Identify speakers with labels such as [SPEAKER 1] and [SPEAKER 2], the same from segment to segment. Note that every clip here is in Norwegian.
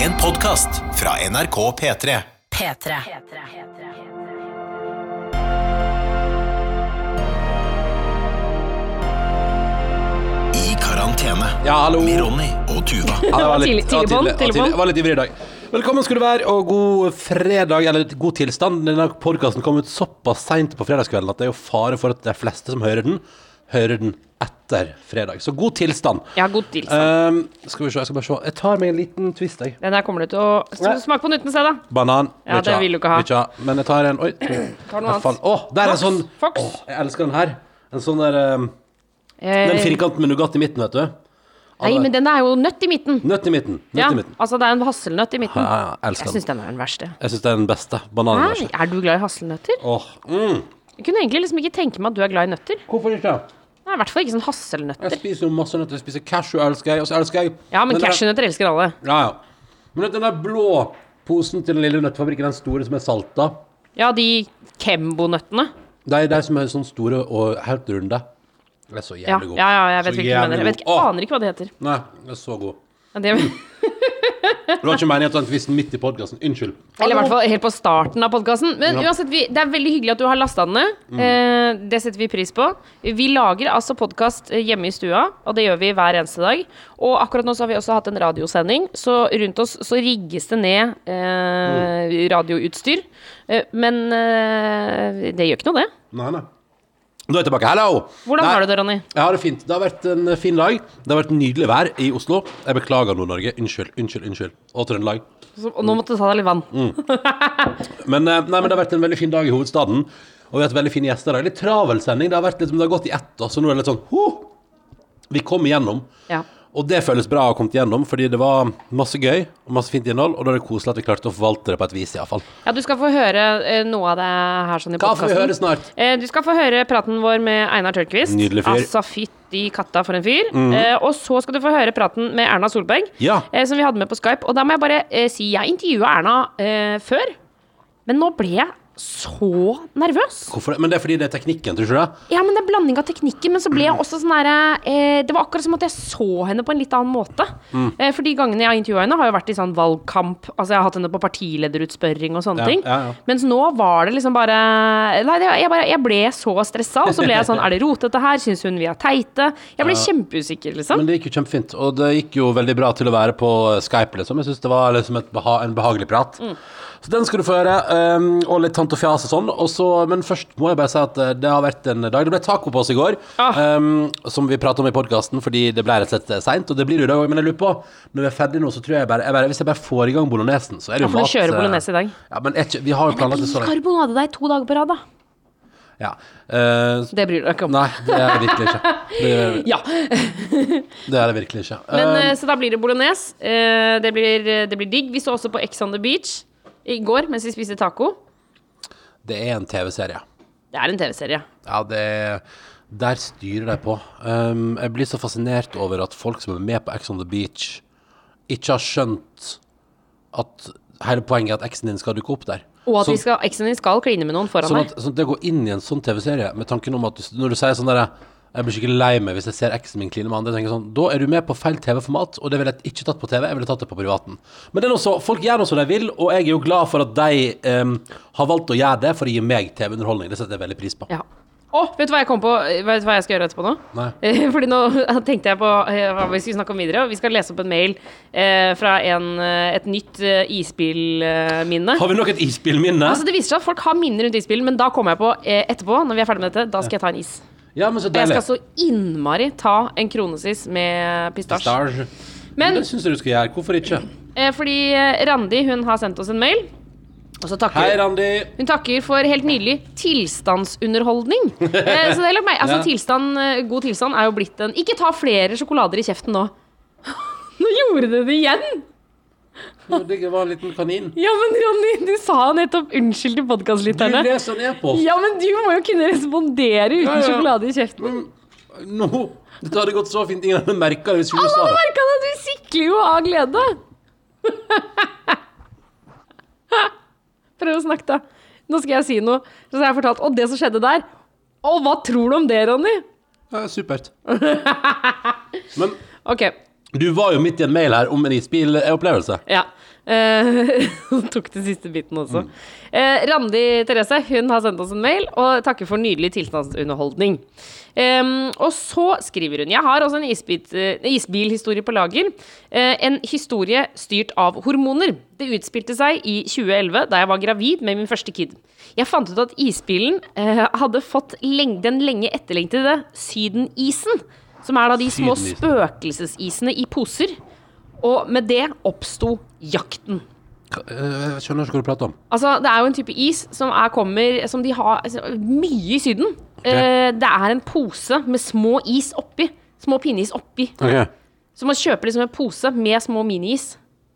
[SPEAKER 1] En podkast fra NRK P3.
[SPEAKER 2] P3.
[SPEAKER 1] I karantene.
[SPEAKER 3] Ja, hallo.
[SPEAKER 1] Med Ronny og Tuva.
[SPEAKER 3] Ja, det var
[SPEAKER 4] Tidlig-
[SPEAKER 3] litt, ja,
[SPEAKER 4] tidlig bånd,
[SPEAKER 3] tidlig- ja,
[SPEAKER 4] tidlig
[SPEAKER 3] tidlig-
[SPEAKER 4] bånd.
[SPEAKER 3] var litt ivrig i dag. Velkommen skal du være, og god fredag, eller god tilstand. Denne podkasten kom ut såpass seint på fredagskvelden at det er jo fare for at de fleste som hører den, hører den etter fredag. Så god tilstand.
[SPEAKER 4] Ja, god
[SPEAKER 3] Ehm,
[SPEAKER 4] tilstand.
[SPEAKER 3] skal vi se, jeg skal bare se. Jeg tar meg en liten twist, jeg.
[SPEAKER 4] Den her kommer du til å
[SPEAKER 3] Nei.
[SPEAKER 4] Sm- Smak på den uten å se, da.
[SPEAKER 3] Banan.
[SPEAKER 4] Ja, det vil du ikke ha.
[SPEAKER 3] Vil ikke ha. Men jeg tar en Oi.
[SPEAKER 4] Tar noe
[SPEAKER 3] Hva faen?
[SPEAKER 4] annet.
[SPEAKER 3] Å, der er en
[SPEAKER 4] Fox,
[SPEAKER 3] sånn
[SPEAKER 4] Fox.
[SPEAKER 3] Å, Jeg elsker den her. En sånn der ehm, Den
[SPEAKER 4] Eh,
[SPEAKER 3] firkanten med Nougat i midten, vet du.
[SPEAKER 4] nei, men den er jo nøtt i midten.
[SPEAKER 3] Nøtt i midten. Nøtt
[SPEAKER 4] Ja,
[SPEAKER 3] i midten.
[SPEAKER 4] altså det er en hasselnøtt i midten.
[SPEAKER 3] Ja, ja, elsker
[SPEAKER 4] Jeg
[SPEAKER 3] den.
[SPEAKER 4] syns den er den verste.
[SPEAKER 3] Jeg syns det er den beste. Bananen.
[SPEAKER 4] Nei, er du glad i hasselnøtter?
[SPEAKER 3] Åh, mm.
[SPEAKER 4] Jeg kunne egentlig liksom ikke tenke meg at du er glad i nøtter.
[SPEAKER 3] Hvorfor ikke?
[SPEAKER 4] Nei, I hvert fall ikke sånn
[SPEAKER 3] Jeg
[SPEAKER 4] hasselnøtter.
[SPEAKER 3] spiser jo masse nøtter. Jeg spiser cashew, elsker jeg. Og så elsker jeg
[SPEAKER 4] Ja, men
[SPEAKER 3] den der-
[SPEAKER 4] cashewnøtter elsker alle.
[SPEAKER 3] Ja, ja. Men den der blå posen til den lille nøttefabrikken, den store som er salta,
[SPEAKER 4] Ja, de kembonøttene.
[SPEAKER 3] det er de som er sånn store og helt runde. Den er så
[SPEAKER 4] Ja,
[SPEAKER 3] jævlig god.
[SPEAKER 4] ja, ja, jeg vet
[SPEAKER 3] Så
[SPEAKER 4] hvilken du
[SPEAKER 3] jævlig
[SPEAKER 4] mener. Jeg vet ikke,
[SPEAKER 3] god. Åh,
[SPEAKER 4] aner ikke hva det heter.
[SPEAKER 3] Nei, den er så god.
[SPEAKER 4] Ja, det-
[SPEAKER 3] Det var ikke meningen at den tvisten midt i podkasten. Unnskyld.
[SPEAKER 4] Eller i hvert fall helt på starten av podkasten. Men
[SPEAKER 3] Ja. Mm.
[SPEAKER 4] uansett, vi, det er veldig hyggelig at du har lasta den ned. Eh, det setter vi pris på. Vi lager altså podkast hjemme i stua, og det gjør vi hver eneste dag. Og akkurat nå så har vi også hatt en radiosending, så rundt oss så rigges det ned eh,
[SPEAKER 3] Mm.
[SPEAKER 4] radioutstyr. Eh, men eh, det gjør ikke noe, det.
[SPEAKER 3] Nei, nei. Da er jeg tilbake. Hello!
[SPEAKER 4] Hvordan
[SPEAKER 3] Nei.
[SPEAKER 4] har du det, Ronny?
[SPEAKER 3] Jeg har det fint. Det har vært en eh, fin dag. Det har vært nydelig vær i Oslo. Jeg beklager Nord-Norge. Unnskyld, unnskyld, unnskyld. Og Trøndelag.
[SPEAKER 4] Så, og
[SPEAKER 3] Mm.
[SPEAKER 4] nå måtte du ta deg litt vann.
[SPEAKER 3] Men, eh, nei, men det har vært en veldig fin dag i hovedstaden. Og vi har hatt veldig fine gjester i dag. Litt travel sending. Det har, vært litt, det har gått i ett, da, så nå er det litt sånn huh! Vi kom igjennom.
[SPEAKER 4] Ja.
[SPEAKER 3] Og det føles bra å ha kommet igjennom, fordi det var masse gøy og masse fint innhold. Og da er det koselig at vi klarte å forvalte det på et vis, iallfall.
[SPEAKER 4] Ja, du skal få høre eh, noe av det her sånn i
[SPEAKER 3] Hva får vi
[SPEAKER 4] podcasten.
[SPEAKER 3] høre snart?
[SPEAKER 4] Eh, du skal få høre praten vår med Einar Tørnquist.
[SPEAKER 3] Nydelig fyr. Mm.
[SPEAKER 4] Altså fytti katta for en fyr. Eh, og så skal du få høre praten med Erna Solberg,
[SPEAKER 3] Ja.
[SPEAKER 4] eh, som vi hadde med på Skype. Og da må jeg bare eh, si, jeg intervjua Erna eh, før, men nå ble jeg så nervøs.
[SPEAKER 3] Hvorfor det? Men det er fordi det er teknikken, tror du ikke det?
[SPEAKER 4] Ja, men det er blanding av teknikken, men så
[SPEAKER 3] Mm.
[SPEAKER 4] ble jeg også sånn derre eh, Det var akkurat som at jeg så henne på en litt annen måte.
[SPEAKER 3] Mm.
[SPEAKER 4] Eh, for de gangene jeg har intervjua henne, har jo vært i sånn valgkamp. Altså, jeg har hatt henne på partilederutspørring og sånne
[SPEAKER 3] Ja,
[SPEAKER 4] ting.
[SPEAKER 3] ja, ja.
[SPEAKER 4] Mens nå var det liksom bare Nei, det, jeg, bare, jeg ble så stressa, og så ble jeg sånn Er det rotete her? Syns hun vi er teite? Jeg ble kjempeusikker, liksom.
[SPEAKER 3] Men det gikk jo kjempefint. Og det gikk jo veldig bra til å være på Skype, liksom. Jeg syns det var liksom et beha en behagelig prat.
[SPEAKER 4] Mm.
[SPEAKER 3] Så den skal du få høre. Um, og litt tant og fjas og sånn. Og så- men først må jeg bare si at eh, det har vært en dag. Det ble taco på oss i går,
[SPEAKER 4] Ah.
[SPEAKER 3] um, som vi pratet om i podkasten, fordi det ble rett og slett seint. Og det blir det i dag òg, men jeg lurer på Når vi er ferdig nå, så tror jeg bare, jeg bare Hvis jeg bare får i gang bolognesen, så er det
[SPEAKER 4] Ja,
[SPEAKER 3] jo
[SPEAKER 4] for du
[SPEAKER 3] mat
[SPEAKER 4] kjører
[SPEAKER 3] eh,
[SPEAKER 4] bolognese i dag.
[SPEAKER 3] Ja, men er ikke, vi har jo planlagt det så lenge.
[SPEAKER 4] Karbonadedeig to dager på rad, da.
[SPEAKER 3] Ja. Eh,
[SPEAKER 4] Det bryr du deg ikke om.
[SPEAKER 3] nei, det er det virkelig ikke. Det,
[SPEAKER 4] Ja.
[SPEAKER 3] det er det virkelig ikke.
[SPEAKER 4] Men,
[SPEAKER 3] Eh,
[SPEAKER 4] eh, så da blir det bolognese. Eh, det, blir, det blir digg. Vi så også på Ex on the Beach i går mens vi spiste taco.
[SPEAKER 3] det er en TV-serie.
[SPEAKER 4] Det er en TV-serie.
[SPEAKER 3] Ja, det Der styrer de på. Um, jeg blir så fascinert over at folk som er med på Ex on the Beach, ikke har skjønt at hele poenget er at eksen din skal dukke opp der.
[SPEAKER 4] Og at
[SPEAKER 3] Sånn-
[SPEAKER 4] de skal, eksen din skal kline med noen foran
[SPEAKER 3] Sånn
[SPEAKER 4] deg.
[SPEAKER 3] at, sånn at det går inn i en sånn TV-serie med tanken om at du, når du sier sånn derre jeg blir skikkelig lei meg hvis jeg ser eksen min kline med andre. tenker jeg sånn, Da er du med på feil TV-format, og det ville jeg ikke tatt på TV. Jeg ville tatt det på privaten. Men det er noe så, folk gjør nå som de vil, og jeg er jo glad for at de em, har valgt å gjøre det for å gi meg TV-underholdning. Det setter jeg veldig pris på.
[SPEAKER 4] Ja. Å, vet du hva jeg kom på? Vet du hva jeg skal gjøre etterpå nå?
[SPEAKER 3] Nei.
[SPEAKER 4] Eh, Fordi nå tenkte jeg på eh, hva vi skulle snakke om videre. og Vi skal lese opp en mail eh, fra en, eh, et nytt eh, isbilminne.
[SPEAKER 3] Har vi nok et isbilminne?
[SPEAKER 4] Altså, det viser seg at folk har minner rundt isbilen, men da kommer jeg på eh, etterpå, når vi er ferdig med dette, da skal jeg ta en is.
[SPEAKER 3] Ja, men så
[SPEAKER 4] Og jeg
[SPEAKER 3] deilig.
[SPEAKER 4] skal så innmari ta en kronesis med pistasje.
[SPEAKER 3] Stage.
[SPEAKER 4] Men
[SPEAKER 3] det syns jeg du skal gjøre. Hvorfor ikke?
[SPEAKER 4] eh, fordi eh, Randi, hun har sendt oss en mail, og så takker
[SPEAKER 3] Hei,
[SPEAKER 4] hun.
[SPEAKER 3] Randi.
[SPEAKER 4] Hun takker for helt nydelig tilstandsunderholdning. Eh, så det er lagt meg. Altså,
[SPEAKER 3] Ja.
[SPEAKER 4] tilstand, eh, god tilstand er jo blitt en Ikke ta flere sjokolader i kjeften nå. Nå gjorde du det igjen!
[SPEAKER 3] Jo, Det var en liten kanin.
[SPEAKER 4] Ja, men Ronny, du sa nettopp unnskyld til
[SPEAKER 3] Du
[SPEAKER 4] podkastlytterne.
[SPEAKER 3] leser en e-post.
[SPEAKER 4] Ja, men du må jo kunne respondere uten
[SPEAKER 3] Ja, ja.
[SPEAKER 4] sjokolade i kjeften.
[SPEAKER 3] Men Nå Dette hadde gått så fint. Ingen hadde merka det hvis ikke du
[SPEAKER 4] Alle
[SPEAKER 3] sa
[SPEAKER 4] hadde
[SPEAKER 3] det.
[SPEAKER 4] merka det! Du sikler jo av glede. Prøv å snakke, da. Nå skal jeg si noe. Så har jeg fortalt Og det som skjedde der. Og hva tror du om det, Ronny?
[SPEAKER 3] Ja, supert. Men
[SPEAKER 4] Ok,
[SPEAKER 3] Du var jo midt i en mail her om en isbilopplevelse.
[SPEAKER 4] Ja. Eh, Hun tok den siste biten også. Eh, Randi Therese hun har sendt oss en mail og takker for nydelig tilstandsunderholdning. Em, og så skriver hun Jeg har også en isbit, eh, isbilhistorie på lager. Eh, en historie styrt av hormoner. Det utspilte seg i 2011 da jeg var gravid med min første kid. Jeg fant ut at isbilen eh, hadde fått leng den lenge etterlengtede Sydenisen. Som er da de små
[SPEAKER 3] Sydenisen.
[SPEAKER 4] spøkelsesisene i poser. Og med det oppsto jakten.
[SPEAKER 3] Hva- eh, Jeg skjønner ikke hva du prater om.
[SPEAKER 4] Altså, det er jo en type is som er, kommer Som de har altså, mye i Syden. Eh, det er en pose med små is oppi. Små pinneis oppi.
[SPEAKER 3] Ok.
[SPEAKER 4] Så man kjøper liksom en pose med små miniis.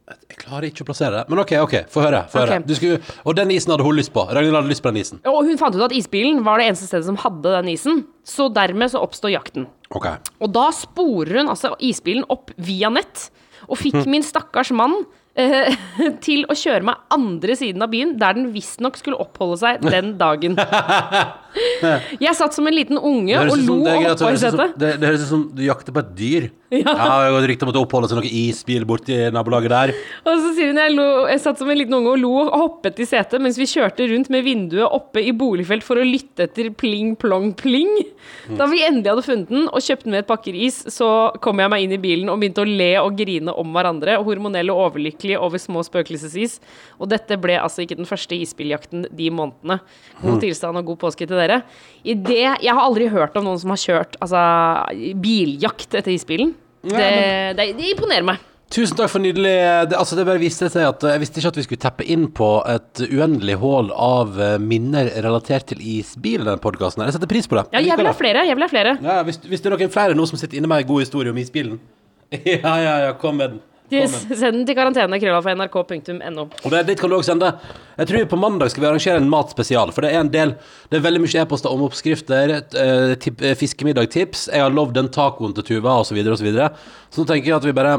[SPEAKER 3] Jeg klarer ikke å plassere det. Men OK, ok, få høre. Få høre.
[SPEAKER 4] Ok.
[SPEAKER 3] Du skulle, og den isen hadde hun lyst på. Ragnhild hadde lyst på den isen.
[SPEAKER 4] Og hun fant ut at isbilen var det eneste stedet som hadde den isen. Så dermed så oppstår jakten.
[SPEAKER 3] Ok.
[SPEAKER 4] Og da sporer hun altså isbilen opp via nett, og fikk
[SPEAKER 3] Hm.
[SPEAKER 4] min stakkars mann eh, til å kjøre meg andre siden av byen, der den visstnok skulle oppholde seg den dagen. Jeg satt som en liten unge
[SPEAKER 3] Det høres
[SPEAKER 4] og
[SPEAKER 3] ut som-
[SPEAKER 4] lo
[SPEAKER 3] det er greit, det
[SPEAKER 4] oppå i
[SPEAKER 3] høres ut som-
[SPEAKER 4] setet.
[SPEAKER 3] Det, det høres ut som du jakter på et dyr.
[SPEAKER 4] Ja.
[SPEAKER 3] det går rykte om at det oppholder seg noen isbil borti nabolaget der.
[SPEAKER 4] Og så sier hun jeg, lo, jeg satt som en liten unge og lo og hoppet i setet mens vi kjørte rundt med vinduet oppe i boligfelt for å lytte etter pling, plong, pling.
[SPEAKER 3] Mm.
[SPEAKER 4] Da vi endelig hadde funnet den og kjøpt den med et pakker is, så kom jeg meg inn i bilen og begynte å le og grine om hverandre, hormonelle og overlykkelige over små spøkelsesis. Og dette ble altså ikke den første isbiljakten de månedene.
[SPEAKER 3] Mm.
[SPEAKER 4] God tilstand og god påske til dere. I det, jeg har aldri hørt om noen som har kjørt altså, biljakt etter isbilen. Det, det, det imponerer meg.
[SPEAKER 3] Tusen takk for nydelig det, altså det bare viste seg at eh, Jeg visste ikke at vi skulle teppe inn på et uendelig hål av eh, minner relatert til isbil i denne podkasten. Jeg setter pris på det.
[SPEAKER 4] Ja, jeg
[SPEAKER 3] liker
[SPEAKER 4] vil ha
[SPEAKER 3] det.
[SPEAKER 4] flere. jeg vil ha flere
[SPEAKER 3] Ja, hvis, hvis det er noen flere nå som sitter inne med en god historie om isbilen Ja, ja, ja, kom med den. Kom med den.
[SPEAKER 4] Yes, Send den til karantene.nrk.no.
[SPEAKER 3] Og det, dit kan du også sende. Jeg tror på mandag skal vi arrangere en matspesial, for det er en del Det er veldig mye e-poster om oppskrifter, eh, tipp- eh, fiskemiddagtips. Jeg har lovd den tacoen til Tuva, osv., osv. Så, videre. så nå tenker jeg at vi bare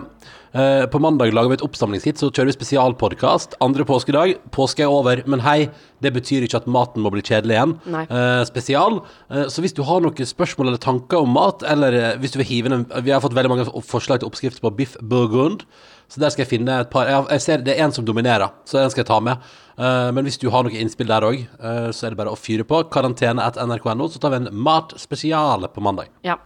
[SPEAKER 3] eh, På mandag lager vi et oppsamlingshit, så kjører vi spesialpodkast andre påskedag. Påske er over, men hei, det betyr ikke at maten må bli kjedelig igjen.
[SPEAKER 4] Nei.
[SPEAKER 3] Eh, spesial. Eh, så hvis du har noen spørsmål eller tanker om mat, eller eh, hvis du vil hive inn en Vi har fått veldig mange forslag til oppskrifter på biff burgund. Så der skal jeg finne et par jeg, har- jeg ser det er en som dominerer, så den skal jeg ta med. Eh, men hvis du har noen innspill der òg, så er det bare å fyre på. Karantene at nrk.no, så tar vi en matspesial på mandag.
[SPEAKER 4] Ja.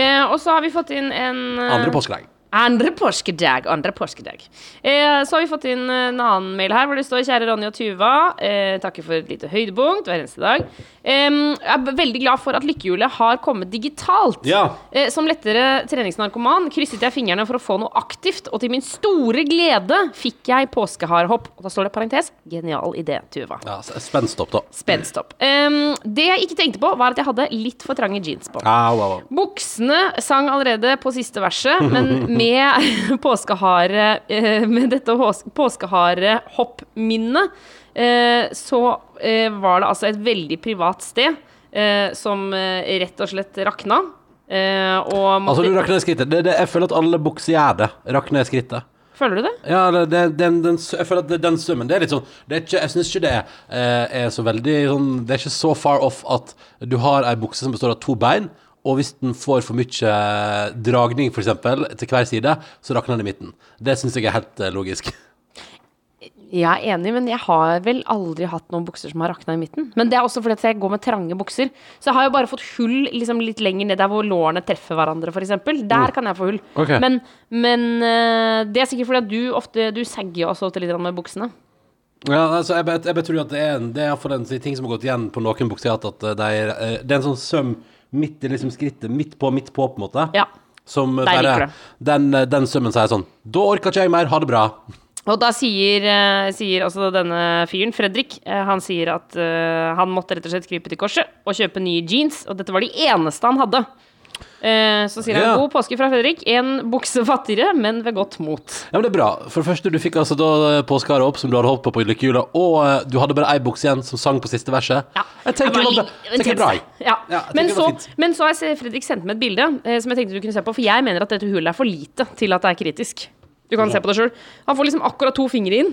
[SPEAKER 4] Eh, og så har vi fått inn en eh,
[SPEAKER 3] Andre påskedag.
[SPEAKER 4] Andre påskedag. Andre påskedag. Eh, så har vi fått inn en annen mail her hvor det står Kjære Ronny og Tuva. Eh, takker for et lite høydepunkt hver eneste dag. Em, jeg er b- veldig glad for at lykkehjulet har kommet digitalt.
[SPEAKER 3] Ja.
[SPEAKER 4] Eh, som lettere treningsnarkoman krysset jeg fingrene for å få noe aktivt, og til min store glede fikk jeg påskeharehopp. Og da står det parentes. Genial idé, Tuva.
[SPEAKER 3] Ja, så- Spenstopp, da.
[SPEAKER 4] Spenstopp. Um, det jeg ikke tenkte på, var at jeg hadde litt for trange jeans på.
[SPEAKER 3] Au, au, au.
[SPEAKER 4] Buksene sang allerede på siste verset, men med påskehare eh, Med dette hås- påskeharehoppminnet, eh, så eh, var det altså et veldig privat sted eh, som eh, rett og slett rakna. eh, og måtte,
[SPEAKER 3] Altså, du rakk ned skrittet. Det, det, jeg føler at alle bukser gjør det. Rakk ned skrittet.
[SPEAKER 4] Føler du det?
[SPEAKER 3] Ja, det, det, den, den, jeg føler at det, den summen Det er litt sånn det er ikke, Jeg syns ikke det er, eh, er så veldig sånn, Det er ikke så far off at du har ei bukse som består av to bein, og hvis den får for mye dragning, f.eks., til hver side, så rakner den i midten. Det syns jeg er helt eh, logisk.
[SPEAKER 4] Jeg er enig, men jeg har vel aldri hatt noen bukser som har rakna i midten. Men det er også fordi at jeg går med trange bukser. Så jeg har jo bare fått hull liksom, litt lenger ned der hvor lårene treffer hverandre, f.eks. Der kan jeg få hull.
[SPEAKER 3] Mm. Ok.
[SPEAKER 4] Men, men eh, det er sikkert fordi at du ofte Du sagger jo også til litt grann med buksene.
[SPEAKER 3] Ja, altså, jeg, bet- jeg bet tror at det er, en, det er for en sånn ting som har gått igjen på noen bukser, at, at det, er, eh, det er en sånn søm midt i liksom skrittet, midt på, midt på, på en måte.
[SPEAKER 4] Ja.
[SPEAKER 3] Som eh,
[SPEAKER 4] Der liker
[SPEAKER 3] bare, den, eh, den sømmen sier sånn Da orker ikke jeg mer, ha det bra.
[SPEAKER 4] Og da sier, eh, sier altså denne fyren, Fredrik, eh, han sier at eh, han måtte rett og slett krype til korset og kjøpe nye jeans, og dette var de eneste han hadde. Eh, Så sier han
[SPEAKER 3] Ja.
[SPEAKER 4] god påske fra Fredrik, én bukse fattigere, men ved godt mot.
[SPEAKER 3] Ja, men det er bra. For det første, du fikk altså da eh, påskeharen opp som du hadde holdt på på lykkehjula, og eh, du hadde bare ei bukse igjen som sang på siste verset.
[SPEAKER 4] Ja.
[SPEAKER 3] Jeg tenker det
[SPEAKER 4] var
[SPEAKER 3] var bra.
[SPEAKER 4] litt-
[SPEAKER 3] Jeg tenker bra. jeg.
[SPEAKER 4] Ja.
[SPEAKER 3] Ja, jeg tenker
[SPEAKER 4] men,
[SPEAKER 3] det var
[SPEAKER 4] så,
[SPEAKER 3] fint.
[SPEAKER 4] men så har jeg se- Fredrik sendt meg et bilde eh, som jeg tenkte du kunne se på, for jeg mener at dette hullet er for lite til at det er kritisk. Du kan se på det sjøl. Han får liksom akkurat to fingre inn.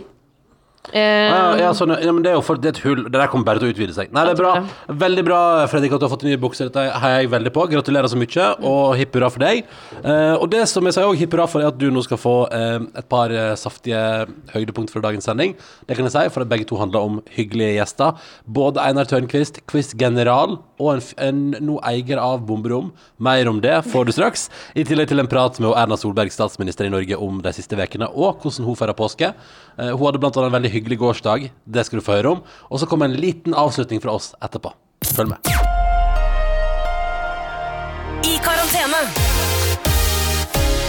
[SPEAKER 4] Eh,
[SPEAKER 3] Ja, ja, sånn, ja, men det er jo for, det er et hull. Det der kommer bare til å utvide seg. Nei, det er bra.
[SPEAKER 4] Jeg
[SPEAKER 3] Veldig bra, Fredrik, at du har fått nye bukser. Dette heier jeg veldig på. Gratulerer så mye, og hipp hurra for deg. Eh, og det som jeg sier òg hipp hurra for, er at du nå skal få eh, et par eh, saftige høydepunkt fra dagens sending. Det kan jeg si, for at begge to handler om hyggelige gjester. Både Einar Tørnquist, quiz-general, og en, f- en nå eier av Bomberom. Mer om det får du straks. I tillegg til en prat med Erna Solberg, statsminister i Norge, om de siste ukene, og hvordan hun feirer påske. Eh, Hun hadde blant annet en veldig hyggelig gårsdag. Det skal du få høre om. Og så kommer en liten avslutning fra oss etterpå. Følg med.
[SPEAKER 2] I karantene.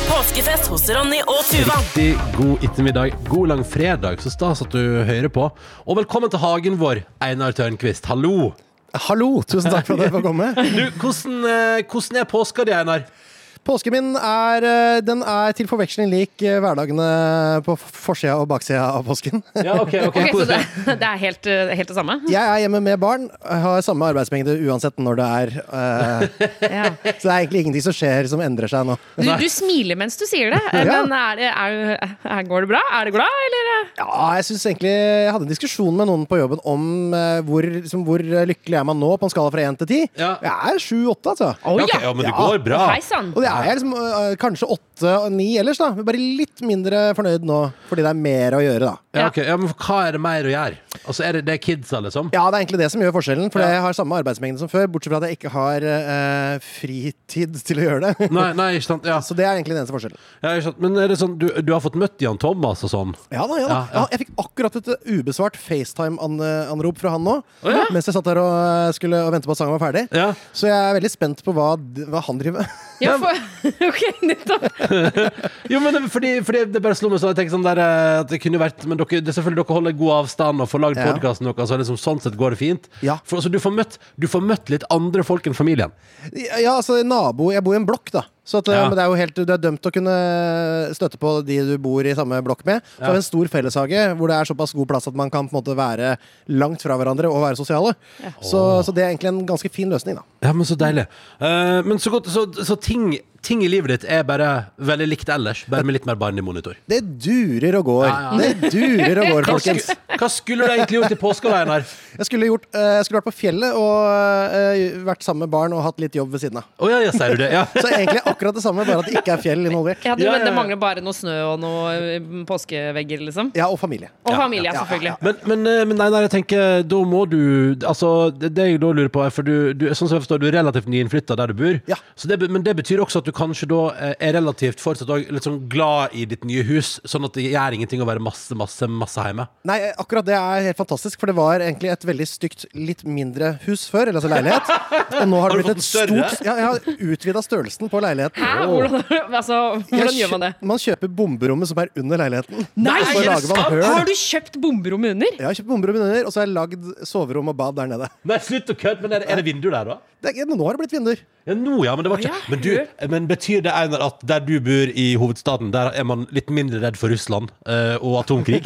[SPEAKER 2] Påskefest hos Ronny og Tuva.
[SPEAKER 3] Riktig god ettermiddag. God langfredag. Så stas at du hører på. Og velkommen til hagen vår, Einar Tørnquist. Hallo.
[SPEAKER 5] Hallo, tusen takk for at jeg får komme.
[SPEAKER 3] Du, hvordan, eh, hvordan er påska di, Einar?
[SPEAKER 5] Påsken min er, eh, den er til forveksling lik eh, hverdagene på f- forsida og baksida av påsken.
[SPEAKER 3] Ja, ok, ok.
[SPEAKER 4] ok, så det, det er helt, eh, helt det samme?
[SPEAKER 5] Jeg er hjemme med barn, har samme arbeidsmengde uansett når det er. eh,
[SPEAKER 4] Ja.
[SPEAKER 5] Så det er egentlig ingenting som skjer som endrer seg nå.
[SPEAKER 4] Du, du smiler mens du sier det, eh,
[SPEAKER 5] Ja.
[SPEAKER 4] men er, det- er, er, går det bra? Er du glad, eller? eh?
[SPEAKER 5] Ja, jeg synes egentlig Jeg hadde en diskusjon med noen på jobben om eh, hvor, liksom, hvor lykkelig er man nå, på en skala fra én til ti.
[SPEAKER 3] Ja.
[SPEAKER 5] Jeg er sju-åtte, altså.
[SPEAKER 4] Å
[SPEAKER 3] Ok, ja, men det
[SPEAKER 5] Ja.
[SPEAKER 3] går bra.
[SPEAKER 4] Hei sann!
[SPEAKER 5] Og det er jeg liksom eh, kanskje åtte-ni ellers, da. Bare litt mindre fornøyd nå, fordi det er mer å gjøre, da.
[SPEAKER 3] Ja, ok. ja, men hva er det mer å gjøre? Altså, er det, det er kidsa, liksom?
[SPEAKER 5] Ja, det er egentlig det som gjør forskjellen. For
[SPEAKER 3] Ja.
[SPEAKER 5] jeg har samme arbeidsmengde som før, bortsett fra at jeg ikke har eh, fritid til å gjøre det.
[SPEAKER 3] Nei, nei, ikke sant. Ja.
[SPEAKER 5] Så det er egentlig den eneste forskjellen.
[SPEAKER 3] Ja, ikke sant. Men er det sånn, du, du har fått møtt Jan Thomas og sånn?
[SPEAKER 5] Ja da, ja da.
[SPEAKER 3] Ja, ja.
[SPEAKER 5] Ja, jeg fikk akkurat et eh, ubesvart FaceTime-anrop fra han nå.
[SPEAKER 3] Å, ja?
[SPEAKER 5] Mens jeg satt der og, eh, skulle, og ventet på at sangen var ferdig.
[SPEAKER 3] Ja.
[SPEAKER 5] Så jeg er veldig spent på hva, d- hva han driver med.
[SPEAKER 4] Ja, for, ok, nettopp.
[SPEAKER 3] Jo, men det- fordi, fordi det bare slo meg sånn, jeg tenker sånn der eh, at det kunne vært Men dere, det er selvfølgelig dere holder god avstand og får lagd
[SPEAKER 5] Ja.
[SPEAKER 3] podkasten deres, så liksom, sånn sett går det fint.
[SPEAKER 5] Ja.
[SPEAKER 3] For, så du får, møtt, du får møtt litt andre folk enn familien.
[SPEAKER 5] Ja, altså nabo Jeg bor i en blokk, da. Så at, eh,
[SPEAKER 3] Ja.
[SPEAKER 5] men det er jo helt, du er dømt til å kunne støtte på de du bor i samme blokk med. Så har vi en stor felleshage hvor det er såpass god plass at man kan på en måte være langt fra hverandre og være sosiale. Så, så det er egentlig en ganske fin løsning, da.
[SPEAKER 3] Ja, men så deilig. Eh, men så godt Så, så ting, ting i livet ditt er bare veldig likt ellers, bare med litt mer barn i monitor.
[SPEAKER 5] Det durer og går.
[SPEAKER 3] Ja, ja.
[SPEAKER 5] Det durer og går,
[SPEAKER 3] Hva
[SPEAKER 5] folkens.
[SPEAKER 3] skulle, hva skulle du egentlig gjort i påska, Einar?
[SPEAKER 5] Jeg skulle, gjort, eh, jeg skulle vært på fjellet og eh, vært sammen med barn og hatt litt jobb ved siden av.
[SPEAKER 3] Å ja, ja, sier du det? Ja.
[SPEAKER 5] Så egentlig akkurat det samme, bare at det ikke er fjell involvert.
[SPEAKER 4] Ja, du,
[SPEAKER 3] Ja,
[SPEAKER 4] men
[SPEAKER 3] ja,
[SPEAKER 4] det
[SPEAKER 3] ja.
[SPEAKER 4] mangler bare noe snø og noen påskevegger, liksom.
[SPEAKER 5] Ja, og familie.
[SPEAKER 4] Og familie, selvfølgelig.
[SPEAKER 3] Men, men, eh, men nei, nei, jeg tenker da må du Altså, det, det jeg da lurer på er For du, du, sånn som jeg forstår, du er relativt nyinnflytta der du bor
[SPEAKER 5] Ja.
[SPEAKER 3] så det, be- Men det betyr også at du kanskje da eh, er relativt fortsatt også litt sånn glad i ditt nye hus Sånn at det gjør ingenting å være masse, masse, masse hjemme
[SPEAKER 5] Nei, akkurat det er helt fantastisk, for det var egentlig et veldig stygt, litt mindre hus før, eller altså leilighet. Og nå har
[SPEAKER 3] Har du
[SPEAKER 5] det blitt
[SPEAKER 3] fått
[SPEAKER 5] et
[SPEAKER 3] større?
[SPEAKER 5] stort Ja, jeg har utvida størrelsen på leiligheten.
[SPEAKER 4] Hæ? Hvordan, altså,
[SPEAKER 5] Jeg
[SPEAKER 4] hvordan gjør man det?
[SPEAKER 5] kjø- Man kjøper bomberommet som er under leiligheten.
[SPEAKER 4] Nei,
[SPEAKER 5] Så lager man høl.
[SPEAKER 4] Har du kjøpt bomberom under?
[SPEAKER 5] Jeg har kjøpt bomberommet under, og så har jeg lagd soverom og bad der nede.
[SPEAKER 3] Nei, slutt å kødde, men er, det- er det vinduer der da?
[SPEAKER 5] Det er, nå har det blitt vinduer.
[SPEAKER 3] Ja, nå ja, men det var ikke
[SPEAKER 4] Å, ja,
[SPEAKER 3] men, du, men betyr det, Einar, at der du bor i hovedstaden Der er man litt mindre redd for Russland eh, og atomkrig?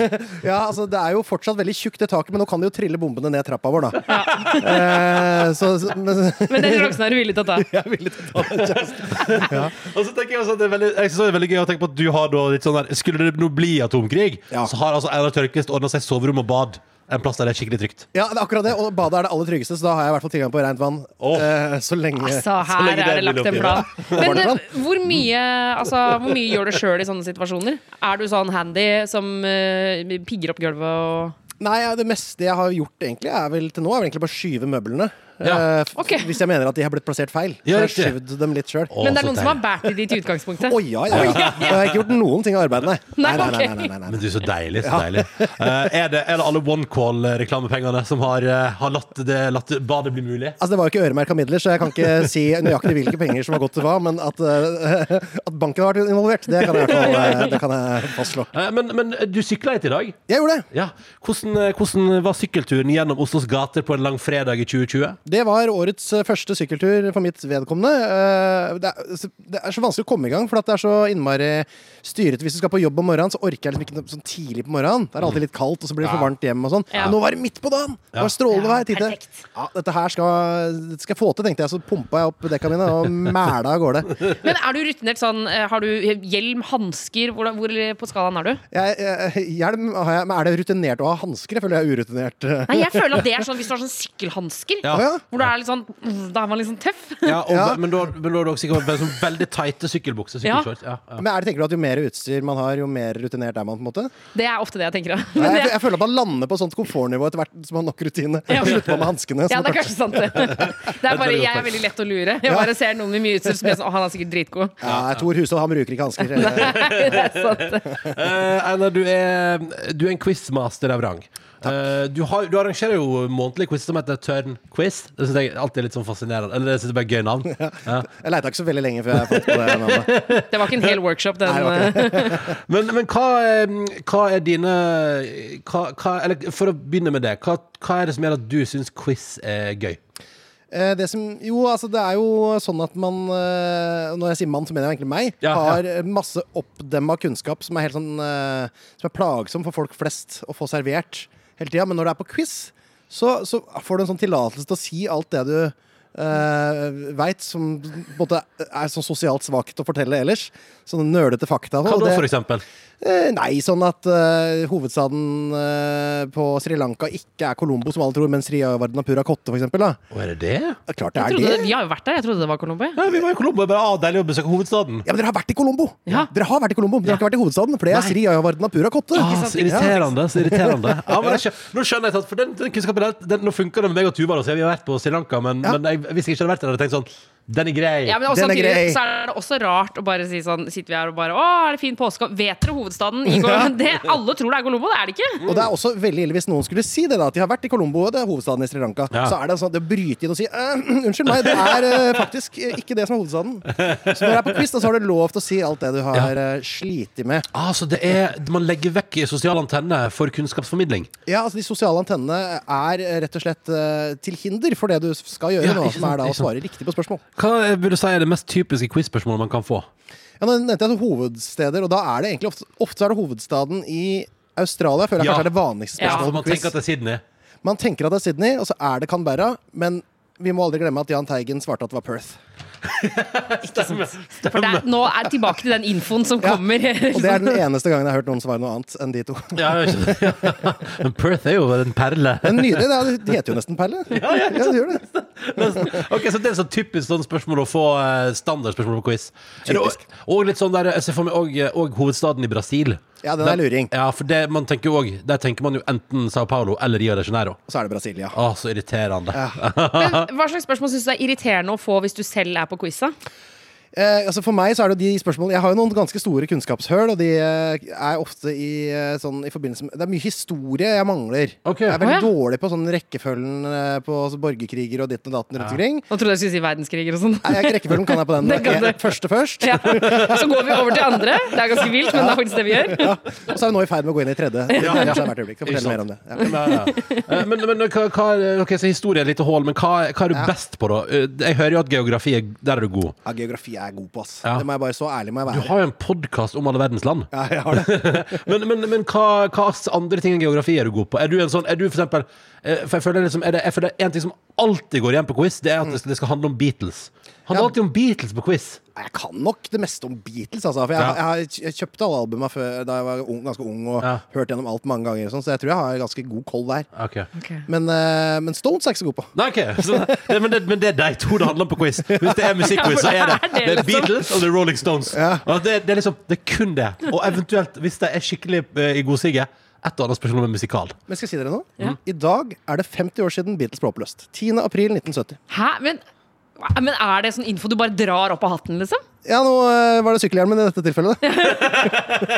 [SPEAKER 5] Ja, altså Det er jo fortsatt veldig tjukt, det taket, men nå kan det jo trille bombene ned trappa vår, da. Eh, så, så, men,
[SPEAKER 4] Men den sjansen er du villig til å ta.
[SPEAKER 5] jeg ville ta den sjansen.
[SPEAKER 3] Og så tenker Jeg også at det er veldig, jeg synes også det er veldig gøy å tenke på at du har da litt sånn der Skulle det nå bli atomkrig,
[SPEAKER 5] Ja.
[SPEAKER 3] så har altså Einar Tørkvist ordna seg soverom og bad. En plass der det er skikkelig trygt.
[SPEAKER 5] Ja, det er akkurat det. Og badet er det aller tryggeste, så da har jeg i hvert fall tilgang på rent vann.
[SPEAKER 3] Åh.
[SPEAKER 5] Eh, så lenge
[SPEAKER 4] Altså,
[SPEAKER 3] Så
[SPEAKER 4] her
[SPEAKER 3] lenge det
[SPEAKER 4] er
[SPEAKER 3] er
[SPEAKER 4] det lagt en
[SPEAKER 3] mulig å
[SPEAKER 4] plan. Men
[SPEAKER 5] Var det
[SPEAKER 4] eh,
[SPEAKER 5] plan?
[SPEAKER 4] hvor mye, altså, hvor mye gjør du sjøl i sånne situasjoner? Er du sånn handy som eh, pigger opp gulvet og
[SPEAKER 5] Nei, ja, det meste jeg har gjort egentlig er vel til nå, er vel egentlig bare skyve møblene.
[SPEAKER 3] Ja.
[SPEAKER 5] Eh, f-
[SPEAKER 4] Ok.
[SPEAKER 5] Hvis jeg mener at de har blitt plassert feil.
[SPEAKER 3] Ja,
[SPEAKER 5] så har jeg
[SPEAKER 3] riktig.
[SPEAKER 5] skyvd dem litt sjøl.
[SPEAKER 3] Å,
[SPEAKER 4] Men
[SPEAKER 3] så
[SPEAKER 4] det er noen
[SPEAKER 3] deilig.
[SPEAKER 4] som har båret i ditt i utgangspunktet.
[SPEAKER 5] Å ja, ja. ja. Og jeg har ikke gjort noen ting av arbeidet, nei.
[SPEAKER 4] Nei, ok.
[SPEAKER 5] nei,
[SPEAKER 3] Men du, så deilig. så deilig Eh, er, det, er det alle OneCall-reklamepengene som har, eh, har latt, det, latt badet bli mulig?
[SPEAKER 5] Altså, det var jo ikke øremerka midler, så jeg kan ikke si nøyaktig hvilke penger som har gått til hva, men at, eh, at banken har vært involvert, det kan jeg, i hvert fall, eh, det kan jeg fastslå.
[SPEAKER 3] Eh, men, men du sykla hit i dag.
[SPEAKER 5] Jeg gjorde det.
[SPEAKER 3] Ja. Hvordan, eh, hvordan var sykkelturen gjennom Oslos gater på en langfredag i 2020?
[SPEAKER 5] Det var årets eh, første sykkeltur for mitt vedkommende. Eh, Det er, så- det er så vanskelig å komme i gang, for at det er så innmari styret. Hvis du skal på jobb om morgenen, så orker jeg liksom ikke noe sånn tidlig på morgenen. Det er alltid litt kaldt, og så blir det for varmt hjemme og sånn.
[SPEAKER 4] Ja.
[SPEAKER 5] Men Nå var det midt på dagen! Det var strålende vær. Jeg tenkte,
[SPEAKER 6] perfekt.
[SPEAKER 5] ja, dette her skal, dette skal jeg få til, tenkte jeg. Så pumpa jeg opp dekka mine og mæla av gårde.
[SPEAKER 4] Men er du rutinert sånn eh, Har du hjelm, hansker? Hvor, hvor eh, på skalaen er du?
[SPEAKER 5] Jeg, jeg, hjelm har jeg, men er det rutinert å ha hansker? Jeg føler jeg er urutinert.
[SPEAKER 4] Nei, jeg føler at det er sånn hvis du har sånn sykkelhansker.
[SPEAKER 5] Å ja.
[SPEAKER 4] Hvor du er litt sånn mm, Da er man liksom tøff.
[SPEAKER 3] Ja, og,
[SPEAKER 5] Ja.
[SPEAKER 3] Men da men da er det også sikkert bare sånn veldig tighte sykkelbukser.
[SPEAKER 4] Ja.
[SPEAKER 3] Sykkelshorts. Ja, ja.
[SPEAKER 5] Men er det, tenker du at Jo mer utstyr man har, jo mer rutinert er man? på en måte?
[SPEAKER 4] Det er ofte det jeg tenker.
[SPEAKER 5] Nei,
[SPEAKER 4] Men
[SPEAKER 5] jeg,
[SPEAKER 4] det,
[SPEAKER 5] jeg føler at man lander på sånt komfortnivå etter hvert som man har nok rutine.
[SPEAKER 4] Ja.
[SPEAKER 5] Og slutter med hanskene.
[SPEAKER 4] ja,
[SPEAKER 5] så-
[SPEAKER 4] det er kanskje sant, det. det er bare, jeg er veldig lett å lure. Jeg bare ser noen med mye utstyr som blir sånn Å, han er sikkert dritgod.
[SPEAKER 5] Ja, Tor Hushovd han bruker ikke hansker. Eh,
[SPEAKER 4] Det er sant.
[SPEAKER 3] Eh, Einar, du er, du er en quizmaster av rang. Eh, du, har, du arrangerer jo månedlig quiz som heter Tørn quiz. Det syns jeg alltid er litt sånn fascinerende. Eller det synes jeg bare er gøy navn.
[SPEAKER 5] Jeg leita ikke så veldig lenge før jeg fant på det navnet.
[SPEAKER 4] Det var ikke en hel workshop, den. eh,
[SPEAKER 5] Nei, det
[SPEAKER 3] Men, men hva, er, hva er dine hva, hva, Eller for å begynne med det, hva, hva er det som gjør at du syns quiz er gøy?
[SPEAKER 5] Eh, Det som, jo, altså det er jo sånn at man eh, Når jeg sier mann, så mener jeg egentlig meg.
[SPEAKER 3] Ja, ja.
[SPEAKER 5] Har eh, masse oppdemma kunnskap som er helt sånn eh, Som er plagsom for folk flest å få servert hele tida. Men når det er på quiz, så, så får du en sånn tillatelse til å si alt det du Uh, Veit som på en måte er sånn sosialt svakt å fortelle ellers. Sånne nølete fakta.
[SPEAKER 3] Hva
[SPEAKER 5] og
[SPEAKER 3] da,
[SPEAKER 5] det-
[SPEAKER 3] for eksempel?
[SPEAKER 5] Eh, nei, sånn at eh, hovedstaden eh, på Sri Lanka ikke er Colombo, som alle tror, men Sri Vardnapura Kotte, for eksempel. Da.
[SPEAKER 3] Å, er det det?
[SPEAKER 5] Ja, Klart det
[SPEAKER 4] Jeg
[SPEAKER 5] er
[SPEAKER 4] trodde,
[SPEAKER 5] det.
[SPEAKER 4] vi har jo vært der. Jeg trodde det var Colombo. jeg.
[SPEAKER 3] Ja, vi var i Colombo. det er Bare, ah, deilig å besøke hovedstaden.
[SPEAKER 5] Ja, men dere har vært i Colombo!
[SPEAKER 4] Ja.
[SPEAKER 5] Dere har vært i Colombo, men dere har ikke vært i hovedstaden, for det er Sri Vardnapura Kotte.
[SPEAKER 3] Ah,
[SPEAKER 4] sant,
[SPEAKER 3] så
[SPEAKER 4] ikke sant.
[SPEAKER 3] irriterende. så irriterende ja, men jeg skjønner, Nå skjønner jeg at for den, den kunnskapen der, den, Nå funker det med meg og Tuva. da, så Vi har vært på Sri Lanka, men, men jeg, hvis jeg ikke hadde vært der, hadde jeg tenkt sånn Den er grei.
[SPEAKER 4] Ja, men også,
[SPEAKER 5] Den er
[SPEAKER 4] samtidig
[SPEAKER 5] grei.
[SPEAKER 4] Så er det også rart å bare si sånn Sitter vi her og bare Å, er det fin påske? Vet dere hovedstaden? I Col- det, alle tror det er Colombo, det er det ikke.
[SPEAKER 5] Og det er også veldig ille hvis noen skulle si det, da, at de har vært i Colombo, og det er hovedstaden i Sri Lanka.
[SPEAKER 3] Ja.
[SPEAKER 5] Så er det sånn at det å bryte inn og si «Eh, Unnskyld meg, det er eh, faktisk eh, ikke det som er hovedstaden. Så når det er på quiz, da, så har du lov til å si alt det du har eh, slitt med.
[SPEAKER 3] Ah, så det er, man legger vekk sosial antenne for kunnskapsformidling.
[SPEAKER 5] Ja, altså De sosiale antennene er eh, rett og slett eh, til hinder for det du skal gjøre
[SPEAKER 3] Ja,
[SPEAKER 5] nå,
[SPEAKER 3] ikke
[SPEAKER 5] som
[SPEAKER 3] sant,
[SPEAKER 5] er da
[SPEAKER 3] ikke
[SPEAKER 5] å svare riktig på spørsmål.
[SPEAKER 3] Hva eh, vil du si er det mest typiske quiz-spørsmålet man kan få?
[SPEAKER 5] Ja, nå nevnte jeg hovedsteder, og da er det egentlig ofte, ofte er det hovedstaden i Australia. føler jeg
[SPEAKER 3] Ja.
[SPEAKER 5] kanskje er det vanligste
[SPEAKER 4] Ja,
[SPEAKER 5] spørsmålet
[SPEAKER 3] Altså, man
[SPEAKER 5] på quiz.
[SPEAKER 3] tenker at det er Sydney.
[SPEAKER 5] Man tenker at det er Sydney, og så er det Canberra. Men vi må aldri glemme at Jahn Teigen svarte at det var Perth.
[SPEAKER 4] For det er, nå er det tilbake til den infoen som kommer.
[SPEAKER 5] Og det er den eneste gangen jeg har hørt noen svare noe annet enn de to.
[SPEAKER 3] Ja, jeg skjønner. Men Perth er jo en perle.
[SPEAKER 5] Men nydelig. Det, er, det heter jo nesten Perle. Ja, det gjør det.
[SPEAKER 3] Ok, så Det er sånn typisk sånn spørsmål å få eh, standardspørsmål på quiz. Er det og-
[SPEAKER 5] Typisk.
[SPEAKER 3] Og litt sånn der, jeg ser for meg og, og hovedstaden i Brasil.
[SPEAKER 5] Ja, den er luring.
[SPEAKER 3] Ja, for det, man tenker jo også, Der tenker man jo enten Sao Paulo eller Rio de Janeiro.
[SPEAKER 5] Og så er det Brasilia.
[SPEAKER 3] Å, så irriterende.
[SPEAKER 4] Men hva slags spørsmål syns du er irriterende å få hvis du selv er på quiz? da?
[SPEAKER 5] Eh, altså for meg så er det de spørsmålene Jeg har jo noen ganske store kunnskapshøl, og de eh, er ofte i, eh, sånn, i forbindelse med Det er mye historie jeg mangler.
[SPEAKER 3] Ok.
[SPEAKER 5] Jeg er veldig
[SPEAKER 4] Å, ja.
[SPEAKER 5] dårlig på sånn rekkefølgen eh, på altså, borgerkriger og ditten og datten rundt omkring.
[SPEAKER 4] Nå trodde jeg skulle si verdenskriger og sånn.
[SPEAKER 5] Nei, jeg, rekkefølgen kan jeg på den.
[SPEAKER 4] Det kan
[SPEAKER 5] Eh,
[SPEAKER 4] du.
[SPEAKER 5] Første først.
[SPEAKER 4] Ja. Så går vi over til andre. Det er ganske vilt, men det er faktisk det vi gjør.
[SPEAKER 5] Og så er vi nå i ferd med å gå inn i tredje.
[SPEAKER 3] Ja, ja.
[SPEAKER 5] Kanskje det er hvert øyeblikk. Skal
[SPEAKER 3] Ikke
[SPEAKER 5] fortelle
[SPEAKER 3] sant.
[SPEAKER 5] mer om det. Ja.
[SPEAKER 3] Ja, ja. Eh, Men, men hva, hva er- ok, så historie er et lite hull, men hva, hva er du best på, da? Eh, Jeg hører jo at geografi er Der er du god.
[SPEAKER 5] ja, geografi er jeg god på, ass.
[SPEAKER 3] Ja.
[SPEAKER 5] Det må jeg bare så ærlig må jeg
[SPEAKER 3] Du
[SPEAKER 5] være.
[SPEAKER 3] har jo en podkast om alle verdens land.
[SPEAKER 5] Ja, jeg har det.
[SPEAKER 3] Men, men, men hva, hva slags andre ting enn geografi er du god på? Er du en sånn, er du for eksempel eh, For jeg føler liksom, er det, jeg føler det er en ting som alltid går igjen på quiz, det er at det skal, det skal handle om Beatles. Handler
[SPEAKER 5] Ja.
[SPEAKER 3] alltid om Beatles på quiz.
[SPEAKER 5] Nei, Jeg kan nok det meste om Beatles, altså. For jeg,
[SPEAKER 3] Ja.
[SPEAKER 5] jeg, har- jeg kjøpte alle albuma før da jeg var ung, ganske ung og
[SPEAKER 3] Ja.
[SPEAKER 5] hørte gjennom alt mange ganger, og sånn, så jeg tror jeg har ganske god koll der.
[SPEAKER 3] Ok
[SPEAKER 5] Men, eh, men Stones er jeg ikke så god på.
[SPEAKER 3] Nei, ok så, det, men, det, men det er de to det handler om på quiz. Hvis det er musikkquiz, så er det,
[SPEAKER 4] Ja, for det er
[SPEAKER 3] det er
[SPEAKER 4] liksom-
[SPEAKER 3] Beatles og The Rolling Stones. Og det, det er liksom, det er kun det. Og eventuelt, hvis de er skikkelig eh, i godsiget, et og annet spørsmål med musikal.
[SPEAKER 5] Men skal jeg si dere noe? I dag er det 50 år siden Beatles ble oppløst. 10. april 1970.
[SPEAKER 4] Hæ? Men, men er det sånn info du bare drar opp av hatten, liksom?
[SPEAKER 5] Ja, nå eh, var det sykkelhjelmen i dette tilfellet.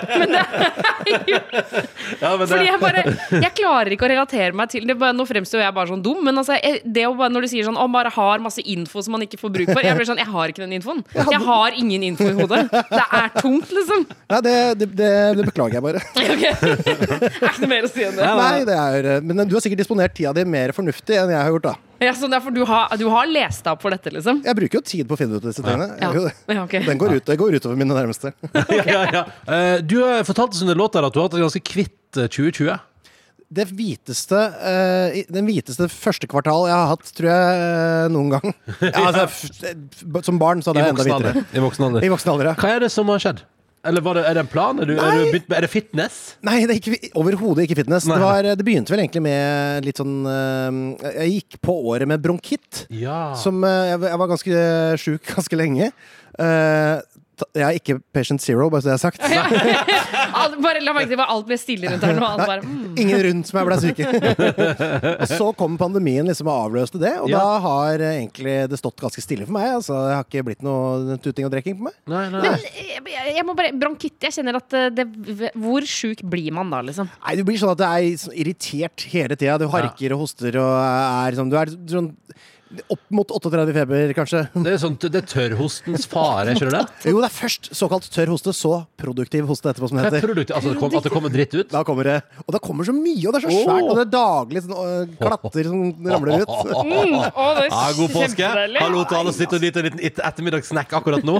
[SPEAKER 3] Ja, men det,
[SPEAKER 4] Fordi jeg bare Jeg klarer ikke å relatere meg til det. Bare, nå fremstår jeg bare sånn dum, men altså, jeg, det å bare, når du sier sånn Å, bare har masse info som man ikke får bruk for Jeg blir sånn Jeg har ikke den infoen. Jeg har ingen info i hodet. Det er tungt, liksom.
[SPEAKER 5] Nei, det, det, det, det beklager jeg bare.
[SPEAKER 4] Ok. Er ikke noe mer å si enn det.
[SPEAKER 5] Nei, det er, eh, men du har sikkert disponert tida di mer fornuftig enn jeg har gjort, da.
[SPEAKER 4] Ja, så derfor du har, du har lest deg opp for dette, liksom?
[SPEAKER 5] Jeg bruker jo tid på å finne ut disse tingene.
[SPEAKER 4] Ja.
[SPEAKER 5] Jeg gjør jo det.
[SPEAKER 4] Ja, ok.
[SPEAKER 5] Den går ut, det går utover mine nærmeste.
[SPEAKER 3] ja, ja, ja. Eh, Du eh, fortalte oss under låta her at du har hatt et ganske kvitt eh, 2020.
[SPEAKER 5] Det hviteste, eh, i- den hviteste første kvartal jeg har hatt, tror jeg, eh, noen gang. Ja, altså, f- f- som barn så hadde
[SPEAKER 3] I
[SPEAKER 5] jeg enda
[SPEAKER 3] voksen alder.
[SPEAKER 5] hvitere.
[SPEAKER 3] I voksen alder.
[SPEAKER 5] I voksen alder, ja.
[SPEAKER 3] Hva er det som har skjedd? Eller var det, er det en plan? Er, du, er, du begynt, med- er det fitness?
[SPEAKER 5] Nei, det er ikke, overhodet ikke fitness.
[SPEAKER 3] Nei.
[SPEAKER 5] Det, var, eh, det begynte vel egentlig med litt sånn eh, Jeg gikk på året med bronkitt.
[SPEAKER 3] Ja.
[SPEAKER 5] Som eh, jeg, var- jeg var ganske eh, sjuk ganske lenge. Eh, ta- jeg er ikke patient zero, bare så det er sagt.
[SPEAKER 4] Alt, bare la merke til at alt ble stille rundt her nå. Alt bare, mm.
[SPEAKER 5] Ingen rundt som jeg ble syke. og så kom pandemien liksom og avløste det, og
[SPEAKER 3] Ja.
[SPEAKER 5] da har eh, egentlig det stått ganske stille for meg. Altså, det har ikke blitt noe tuting og drikking på meg.
[SPEAKER 3] Nei, nei.
[SPEAKER 4] Men jeg, jeg må bare Bronkitt, jeg kjenner at eh, det Hvor sjuk blir man da, liksom?
[SPEAKER 5] Nei, Du blir sånn at du er sånn irritert hele tida. Du harker og hoster og er sånn Du er sånn opp mot 38 feber, kanskje.
[SPEAKER 3] Det er, sånn, det er tørrhostens fare, skjønner du det?
[SPEAKER 5] Jo, det er først såkalt tørr hoste, så produktiv hoste etterpå, som det
[SPEAKER 3] Hva er
[SPEAKER 5] heter.
[SPEAKER 3] produktet? Altså, det kom, at det kommer dritt ut?
[SPEAKER 5] Da kommer det, og det kommer så mye, og det er så svært, og det er daglig sånn, øh, klatter som ramler ut.
[SPEAKER 3] Ja, god påske. Hallo til alle som sitter og nyter en liten et- ettermiddagssnack akkurat nå.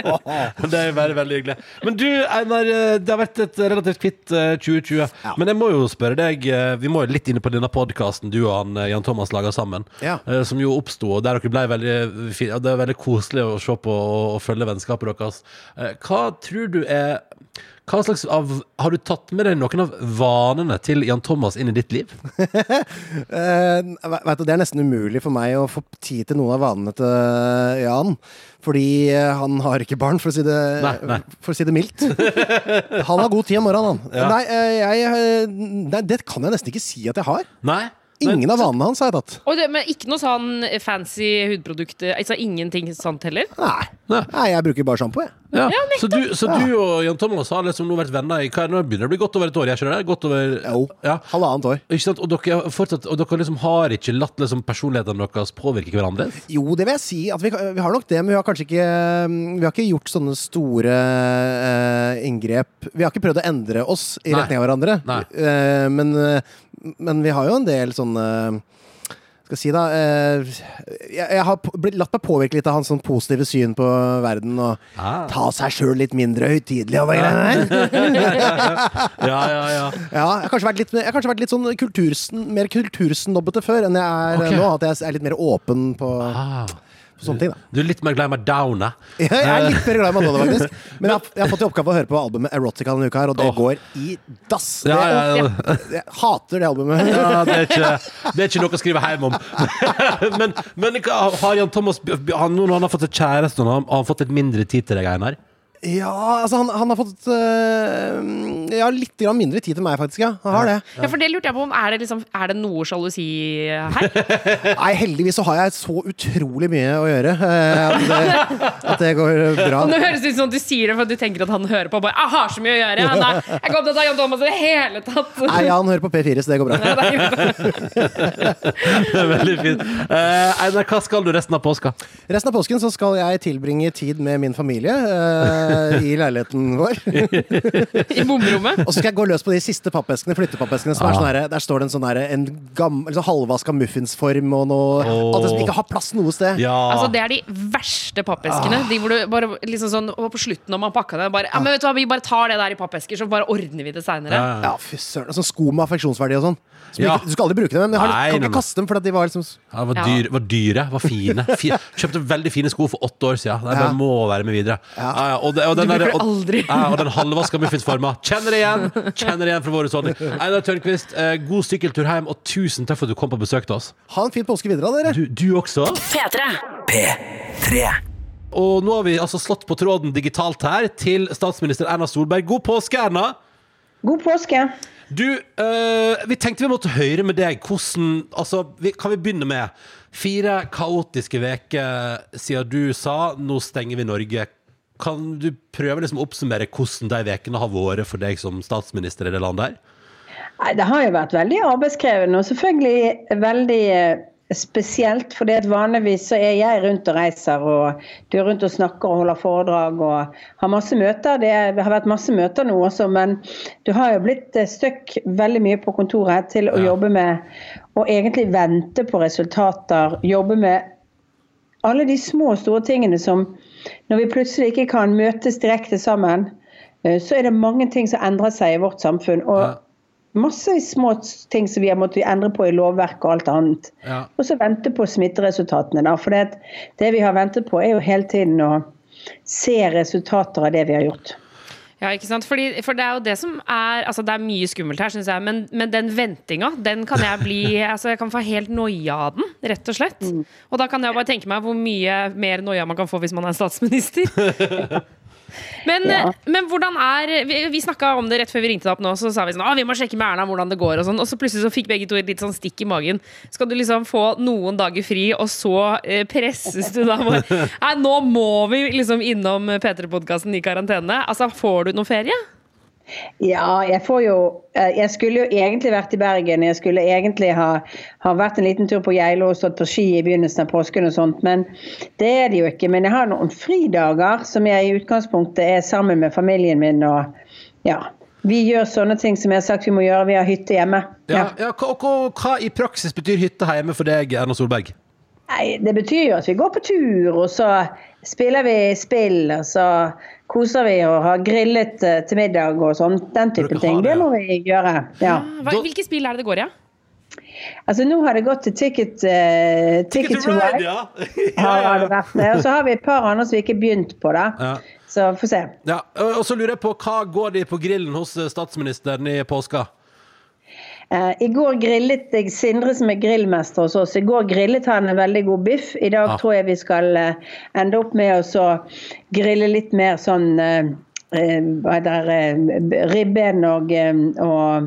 [SPEAKER 3] det er veldig, veldig hyggelig. Men du, Einar, eh, det har vært et relativt kvitt eh, 2020. Men jeg må jo spørre deg, eh, vi må jo litt inne på denne podkasten du og han, eh, Jan Thomas lager sammen.
[SPEAKER 5] Ja.
[SPEAKER 3] eh, Som jo oppsto, og der dere ble veldig eh, fi- ja, Det er veldig koselig å se på og og følge vennskapet deres. Eh, Hva tror du er hva slags av, Har du tatt med deg noen av vanene til Jan Thomas inn i ditt liv?
[SPEAKER 5] Eh, ve- vet du, det er nesten umulig for meg å få tid til noen av vanene til Jan. Fordi eh, han har ikke barn, for å si det,
[SPEAKER 3] Nei, nei.
[SPEAKER 5] For å si det mildt. Han har god tid om morgenen, han. Nei, eh, jeg, eh, nei, det kan jeg nesten ikke si at jeg har.
[SPEAKER 3] Nei?
[SPEAKER 5] Ingen av vanene hans har jeg tatt.
[SPEAKER 4] Og det, men ikke noe sånn fancy hudprodukt Altså ingenting sånt heller?
[SPEAKER 5] Nei.
[SPEAKER 3] Nei.
[SPEAKER 5] nei, jeg bruker bare sjampo, jeg.
[SPEAKER 3] Ja. så du, så du og Jan Thomas har liksom nå vært venner i hva er det nå? begynner det å bli godt over et år? Jeg skjønner det? Godt over,
[SPEAKER 5] Jo.
[SPEAKER 3] Ja.
[SPEAKER 5] Halvannet år.
[SPEAKER 3] Ikke sant? Og dere, har fortsatt, og dere liksom har ikke latt liksom personlighetene deres påvirke hverandre?
[SPEAKER 5] Jo, det vil jeg si. At vi, vi har nok det, men vi har kanskje ikke mm, Vi har ikke gjort sånne store eh, inngrep. Vi har ikke prøvd å endre oss i
[SPEAKER 3] Nei.
[SPEAKER 5] retning av hverandre.
[SPEAKER 3] Nei.
[SPEAKER 5] Eh, men, eh, men vi har jo en del sånne Skal jeg si, da eh, jeg, jeg har p- blitt, latt meg påvirke litt av hans sånn positive syn på verden. Og
[SPEAKER 3] Ah.
[SPEAKER 5] ta seg sjøl litt mindre høytidelig og hva greiene der.
[SPEAKER 3] Ja, ja, ja.
[SPEAKER 5] Ja, jeg har kanskje vært litt, jeg har kanskje vært litt sånn kultursn, mer kultursnobbete før enn jeg er eh,
[SPEAKER 3] Ok.
[SPEAKER 5] nå. At jeg er litt mer åpen på,
[SPEAKER 3] Ah.
[SPEAKER 5] på sånne ting. da
[SPEAKER 3] Du er litt mer glad i meg down, eh?
[SPEAKER 5] Jeg er litt mer glad i Madonna, faktisk. Men jeg har, jeg har fått i oppgave å høre på albumet Erotica denne uka her, og det
[SPEAKER 3] Åh.
[SPEAKER 5] går i dass. Det,
[SPEAKER 3] Ja, ja, ja.
[SPEAKER 5] Jeg hater det albumet.
[SPEAKER 3] ja det, er ikke, det er ikke noe å skrive hjem om. Men, men hva, har Jan Thomas han, Når han har fått et kjæreste, har han, har han fått litt mindre tid til deg, Einar?
[SPEAKER 5] Ja, altså, han, han har fått øh, Ja, litt grann mindre tid til meg, faktisk. Ja. Han har det.
[SPEAKER 4] Ja, for det lurte jeg på om Er det, liksom, er det noe sjalusi her?
[SPEAKER 5] Nei, heldigvis så har jeg så utrolig mye å gjøre eh, at det, at det går bra.
[SPEAKER 4] Nå høres det ut som du sier det for at du tenker at han hører på. og Bare, jeg har så mye å gjøre. Han er, jeg er ikke opptatt av Jan Thomas i det hele tatt.
[SPEAKER 5] Nei, ja, han hører på P4, så det går bra.
[SPEAKER 4] Ja, det er jo-
[SPEAKER 3] Det er Veldig fint. Eh, Einar, hva skal du resten av påska?
[SPEAKER 5] Resten av påsken så skal jeg tilbringe tid med min familie eh, i leiligheten vår.
[SPEAKER 4] I bomrommet.
[SPEAKER 5] Og så skal jeg gå løs på de siste pappeskene, flyttepapeskene. Som er
[SPEAKER 3] Ah.
[SPEAKER 5] sånn herre- der står det en sånn herre- en gammel, altså halvvaska muffinsform og noe
[SPEAKER 3] Åh.
[SPEAKER 5] Alt det som ikke har plass noe sted.
[SPEAKER 3] Ja.
[SPEAKER 4] Altså, det er de verste pappeskene. De hvor du bare liksom sånn og På slutten når man pakka det bare, ja, men vet du hva, Vi bare tar det der i pappesker, så bare ordner vi det seinere.
[SPEAKER 5] Ja, fy søren. og Sånn sko med affeksjonsverdi og sånn. Som
[SPEAKER 3] Ja.
[SPEAKER 5] ikke, du skal aldri bruke dem, men jeg har,
[SPEAKER 3] Nei,
[SPEAKER 5] kan
[SPEAKER 3] nei,
[SPEAKER 5] ikke
[SPEAKER 3] nei.
[SPEAKER 5] kaste dem, for at de var liksom
[SPEAKER 3] Ja, det var,
[SPEAKER 4] Ja.
[SPEAKER 3] dyr, var dyre, var fine. Fi- Kjøpte veldig fine sko for åtte år siden. Nei, bare
[SPEAKER 5] Ja.
[SPEAKER 3] må være med videre. Ja, ja, og, det- og den
[SPEAKER 4] Du bruker
[SPEAKER 3] der- og-
[SPEAKER 4] det aldri.
[SPEAKER 3] Ja, og den halvvaska muffinsforma. Kjenner det igjen! Kjenner det igjen fra vår husholdning. Einar Tørnquist, eh, god sykkeltur hjem, og tusen takk for at du kom på besøk til oss.
[SPEAKER 5] Ha en fin påske videre, da, dere.
[SPEAKER 3] Du, du også.
[SPEAKER 2] P3.
[SPEAKER 3] Og nå har vi altså slått på tråden digitalt her til statsminister Erna Solberg. God påske, Erna!
[SPEAKER 6] God påske.
[SPEAKER 3] Du, eh, vi tenkte vi måtte høre med deg hvordan Altså, vi, kan vi begynne med fire kaotiske veker siden du sa 'nå stenger vi Norge'. Kan du prøve liksom å oppsummere hvordan de vekene har vært for deg som statsminister i det landet her?
[SPEAKER 6] Nei, det har jo vært veldig arbeidskrevende og selvfølgelig veldig eh, spesielt. For vanligvis så er jeg rundt og reiser og du er rundt og snakker og holder foredrag og har masse møter. Det er- det har vært masse møter nå også, men du har jo blitt eh, stuck veldig mye på kontoret til å jobbe med å egentlig vente på resultater, jobbe med alle de små og store tingene som Når vi plutselig ikke kan møtes direkte sammen, eh, så er det mange ting som endrer seg i vårt samfunn. og
[SPEAKER 3] Ja.
[SPEAKER 6] Masse små ting som vi har måttet endre på i lovverk og alt annet.
[SPEAKER 3] Ja.
[SPEAKER 6] Og så vente på smitteresultatene, da. For det, at det vi har ventet på, er jo hele tiden å se resultater av det vi har gjort.
[SPEAKER 4] Ja, ikke sant? Fordi, for det er jo det som er Altså, det er mye skummelt her, syns jeg, men, men den ventinga, den kan jeg bli Altså, jeg kan få helt noia av den, rett og slett. Og da kan jeg bare tenke meg hvor mye mer noia man kan få hvis man er statsminister. Men,
[SPEAKER 6] Ja.
[SPEAKER 4] men hvordan er Vi, vi snakka om det rett før vi ringte deg opp nå, så sa vi sånn ah, vi må sjekke med Erna hvordan det går, og sånn. Og så plutselig så fikk begge to et litt sånn stikk i magen. Skal du liksom få noen dager fri, og så eh, presses du da hvor Nei, nå må vi liksom innom P3-podkasten i karantene. Altså, får du noe ferie?
[SPEAKER 6] Ja, jeg får jo eh, Jeg skulle jo egentlig vært i Bergen. Jeg skulle egentlig ha, ha vært en liten tur på Geilo og stått på ski i begynnelsen av påsken og sånt, men det er det jo ikke. Men jeg har noen fridager som jeg i utgangspunktet er sammen med familien min og Ja. Vi gjør sånne ting som jeg har sagt vi må gjøre. Vi har hytte hjemme.
[SPEAKER 3] Ja, ja. hva- og hva, hva i praksis betyr hytte hjemme for deg, Erna Solberg?
[SPEAKER 6] Nei, det betyr jo at vi går på tur, og så spiller vi spill, og så koser vi og har grillet eh, til middag og sånn. Den
[SPEAKER 3] Dere
[SPEAKER 6] type
[SPEAKER 3] har
[SPEAKER 6] ting.
[SPEAKER 3] det,
[SPEAKER 6] Det
[SPEAKER 3] ja.
[SPEAKER 6] må vi gjøre. Ja.
[SPEAKER 4] Hva, hvilke spill er det det går i? Ja?
[SPEAKER 6] Altså, nå har det gått til Ticket, eh, ticket to Ride.
[SPEAKER 3] ja.
[SPEAKER 6] Har det vært det. Og så har vi et par andre som vi ikke begynte på, da.
[SPEAKER 3] Ja.
[SPEAKER 6] Så få se.
[SPEAKER 3] Ja, og og så lurer jeg på, hva går de på grillen hos eh, statsministeren i påska?
[SPEAKER 6] Eh, I går grillet jeg Sindre, som er grillmester hos oss. I går grillet han en veldig god biff. I dag
[SPEAKER 3] Ja.
[SPEAKER 6] tror jeg vi skal eh, ende opp med å så grille litt mer sånn eh, eh, Hva heter det eh, Ribben og, eh, og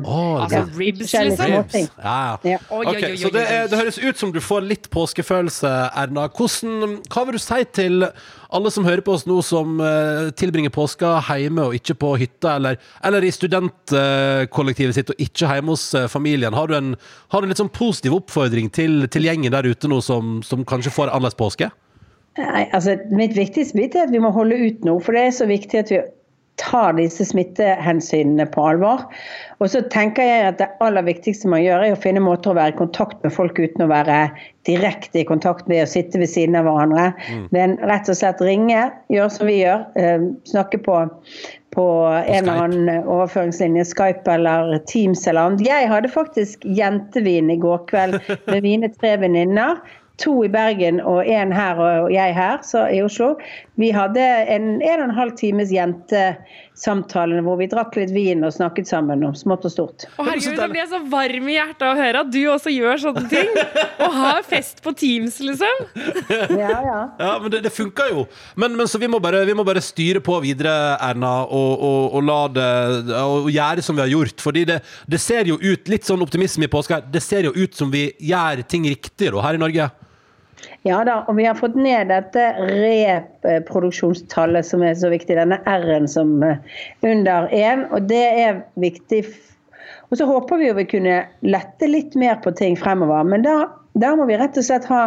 [SPEAKER 3] Åh, det
[SPEAKER 4] Altså
[SPEAKER 3] blir-
[SPEAKER 4] ribs,
[SPEAKER 6] Forskjellige
[SPEAKER 4] liksom?
[SPEAKER 6] småting.
[SPEAKER 3] Ribs. Ja, ja.
[SPEAKER 6] Ja.
[SPEAKER 4] Oi,
[SPEAKER 3] Ok,
[SPEAKER 4] oi, oi,
[SPEAKER 3] så det,
[SPEAKER 4] oi,
[SPEAKER 3] er,
[SPEAKER 4] oi.
[SPEAKER 3] det høres ut som du får litt påskefølelse, Erna. Hvordan, hva vil du si til alle som hører på oss nå, som eh, tilbringer påska hjemme og ikke på hytta, eller, eller i studentkollektivet sitt og ikke hjemme hos eh, familien? Har du en, har du en litt sånn positiv oppfordring til, til gjengen der ute nå, som, som kanskje får annerledes påske?
[SPEAKER 6] Nei, altså Mitt viktigste bit er at vi må holde ut nå, for det er så viktig at vi tar disse smittehensynene på alvor. Og så tenker jeg at det aller viktigste man gjør, er å finne måter å være i kontakt med folk uten å være direkte i kontakt ved å sitte ved siden av hverandre. Men rett og slett ringe, gjøre som vi gjør, eh, snakke på, på en
[SPEAKER 3] Skype.
[SPEAKER 6] eller annen overføringslinje, Skype eller Teams eller annet. Jeg hadde faktisk jentevin i går kveld med mine tre venninner. To i Bergen og én her og jeg her, så i Oslo. Vi hadde en en og en halv times jentesamtale hvor vi drakk litt vin og snakket sammen om smått og stort.
[SPEAKER 4] Å, herregud, Da blir jeg så varm i hjertet av å høre at du også gjør sånne ting. Og har fest på Teams, liksom.
[SPEAKER 6] Ja, ja.
[SPEAKER 3] Ja, men det, det funker jo. Men, men så vi må, bare, vi må bare styre på videre, Erna, og, og, og la det Og gjøre som vi har gjort. Fordi det, det ser jo ut Litt sånn optimisme i påska. her, Det ser jo ut som vi gjør ting riktig da, her i Norge.
[SPEAKER 6] Ja da, og vi har fått ned dette reproduksjonstallet som er så viktig, denne R-en som eh, under 1, og det er viktig. Og så håper vi jo vi kunne lette litt mer på ting fremover, men da, da må vi rett og slett ha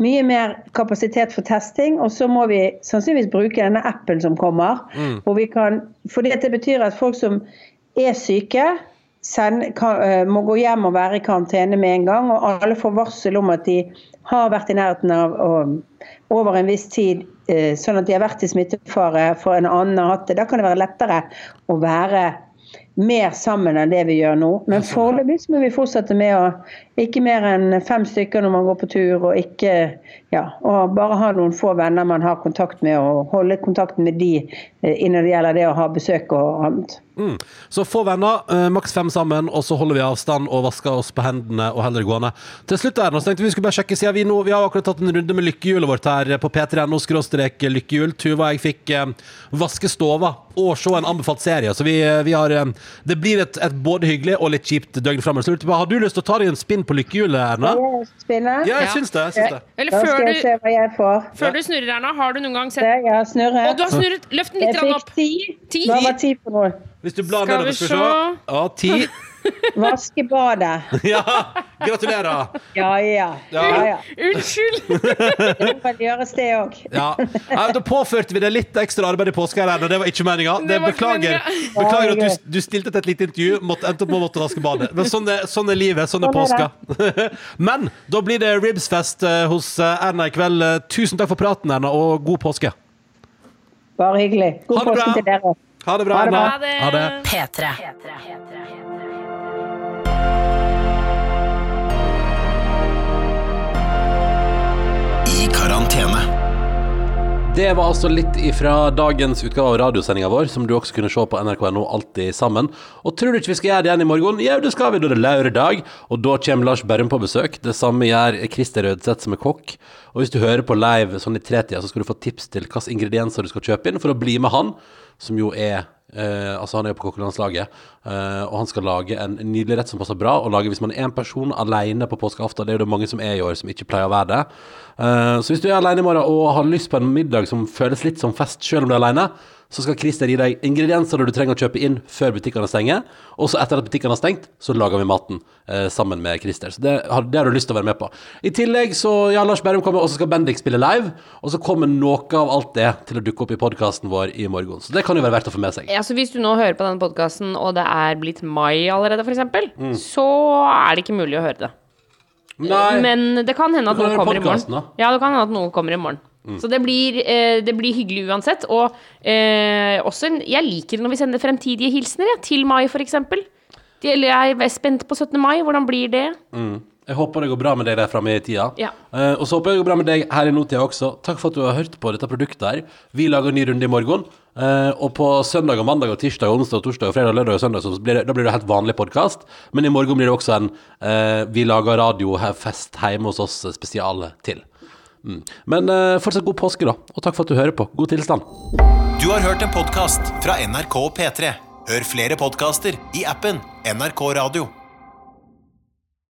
[SPEAKER 6] mye mer kapasitet for testing, og så må vi sannsynligvis bruke denne appen som kommer, hvor vi kan, for det betyr at folk som er syke, send, kan, eh, må gå hjem og være i karantene med en gang. Og alle får varsel om at de har vært i nærheten av å- over en viss tid, eh, sånn at de har vært i smittefare for en annen har hatt det. Da kan det være lettere å være mer sammen enn det vi gjør nå. Men foreløpig så må vi fortsette med å ikke mer enn fem stykker når man går på tur, og ikke ja, og bare ha noen få venner man har kontakt med, og holde kontakten med de eh, når det gjelder det å ha besøk og annet.
[SPEAKER 3] Mm. Så få venner, eh, maks fem sammen, og så holder vi avstand og vasker oss på hendene og heller gående. Til slutt Erna, så tenkte vi skulle bare sjekke siden vi nå Vi har akkurat tatt en runde med lykkehjulet vårt her eh, på p3.no skråstrek eh, lykkehjul. Tuva og jeg fikk eh, vaske stova og se en anbefalt serie. Så vi, eh, vi har eh, Det blir et, et både hyggelig og litt kjipt døgn framover. Så lurte jeg på, Har du lyst til å ta deg en spinn på lykkehjulet, Erna?
[SPEAKER 6] Spinne?
[SPEAKER 3] Ja, jeg syns det. Jeg syns det.
[SPEAKER 4] Eller
[SPEAKER 6] Da
[SPEAKER 4] før
[SPEAKER 6] skal
[SPEAKER 4] du,
[SPEAKER 6] jeg se hva jeg får.
[SPEAKER 4] før du snurrer, Erna, har du noen gang
[SPEAKER 6] Se,
[SPEAKER 4] sett
[SPEAKER 6] jeg har snurret.
[SPEAKER 4] Og du har snurret! Løft den litt
[SPEAKER 6] jeg
[SPEAKER 4] grann
[SPEAKER 6] fikk
[SPEAKER 4] opp.
[SPEAKER 6] ti.
[SPEAKER 4] Ti?
[SPEAKER 6] Hva var ti for noe?
[SPEAKER 3] Hvis du blar
[SPEAKER 4] Skal
[SPEAKER 3] nedover,
[SPEAKER 4] vi
[SPEAKER 3] skal vi se. Ja, ti.
[SPEAKER 6] Vaske badet.
[SPEAKER 3] Ja. Gratulerer!
[SPEAKER 6] Ja, ja. ja, ja.
[SPEAKER 4] Unnskyld!
[SPEAKER 6] Det kan gjøres, det òg.
[SPEAKER 3] Ja. Nei, da påførte vi deg litt ekstra arbeid i påska her, og det var ikke meninga.
[SPEAKER 4] Det
[SPEAKER 3] Det
[SPEAKER 4] var ikke
[SPEAKER 3] Beklager,
[SPEAKER 4] meningen.
[SPEAKER 3] beklager at du, du stilte til et lite intervju, måtte, endte opp med å måtte vaske badet. Men sånn er, sånn er livet. Sånn er
[SPEAKER 6] Sånn
[SPEAKER 3] påska. Men da blir det ribsfest eh, hos eh, Erna i kveld. Eh, Tusen takk for praten, Erna, og god påske.
[SPEAKER 6] Bare hyggelig. God
[SPEAKER 3] Ha det bra.
[SPEAKER 6] påske til dere.
[SPEAKER 3] Ha det bra,
[SPEAKER 6] Ha det
[SPEAKER 3] Erna.
[SPEAKER 6] bra.
[SPEAKER 3] Ha det.
[SPEAKER 2] P3.
[SPEAKER 1] I karantene.
[SPEAKER 3] Det var altså litt ifra dagens utgave av radiosendinga vår, som du også kunne se på nrk.no alltid sammen. Og tror du ikke vi skal gjøre det igjen i morgen? Jau, det skal vi, da er det lørdag. Og da kommer Lars Berrum på besøk. Det samme gjør Christer Rødseth, som er kokk. Og hvis du hører på live sånn i tretida, så skal du få tips til hvilke ingredienser du skal kjøpe inn for å bli med han, som jo er Eh, altså Han er jo på kokkelandslaget, eh, og han skal lage en nydelig rett som passer bra å lage hvis man er en person alene på påskeaften. Det er jo det mange som er i år, som ikke pleier å være det. Eh, så hvis du er alene i morgen og har lyst på en middag som føles litt som fest, selv om du er alene, så skal Christer gi deg ingredienser du trenger å kjøpe inn før butikkene stenger. Og så etter at butikkene har stengt, så lager vi maten eh, sammen med Christer. Så det har, det har du lyst til å være med på. I tillegg så ja, Lars Berrum kommer, og så skal Bendik spille live. Og så kommer noe av alt det til å dukke opp i podkasten vår i morgen. Så det kan jo være verdt å få med seg.
[SPEAKER 4] Ja, så hvis du nå hører på denne podkasten, og det er blitt mai allerede, f.eks., så er det ikke mulig å høre det.
[SPEAKER 3] Nei.
[SPEAKER 4] Men det kan hende
[SPEAKER 3] Du
[SPEAKER 4] at
[SPEAKER 3] kan
[SPEAKER 4] noe
[SPEAKER 3] høre
[SPEAKER 4] kommer i
[SPEAKER 3] podcasten, Mm.
[SPEAKER 4] morgen. Ja, det kan hende at noe kommer i morgen. Så det blir, eh, det blir hyggelig uansett. Og eh, også en, jeg liker når vi sender fremtidige hilsener, jeg, til mai f.eks. Jeg er spent på 17. mai, hvordan blir det?
[SPEAKER 3] Jeg håper det går bra med deg der framme i tida.
[SPEAKER 4] Ja.
[SPEAKER 3] Eh, og så håper jeg det går bra med deg her i nåtida også. Takk for at du har hørt på dette produktet her. Vi lager en ny runde i morgen. eh, og på søndag og mandag og tirsdag og onsdag og torsdag og fredag og lørdag og søndag så blir det, da blir det helt vanlig podkast. Men i morgen blir det også en eh, Vi lager radio-fest hjemme hos oss-spesial til. Mm. Men eh, fortsatt god påske, da. Og takk for at du hører på. God tilstand.
[SPEAKER 1] Du har hørt en podkast fra NRK P3. Hør flere podkaster i appen NRK Radio.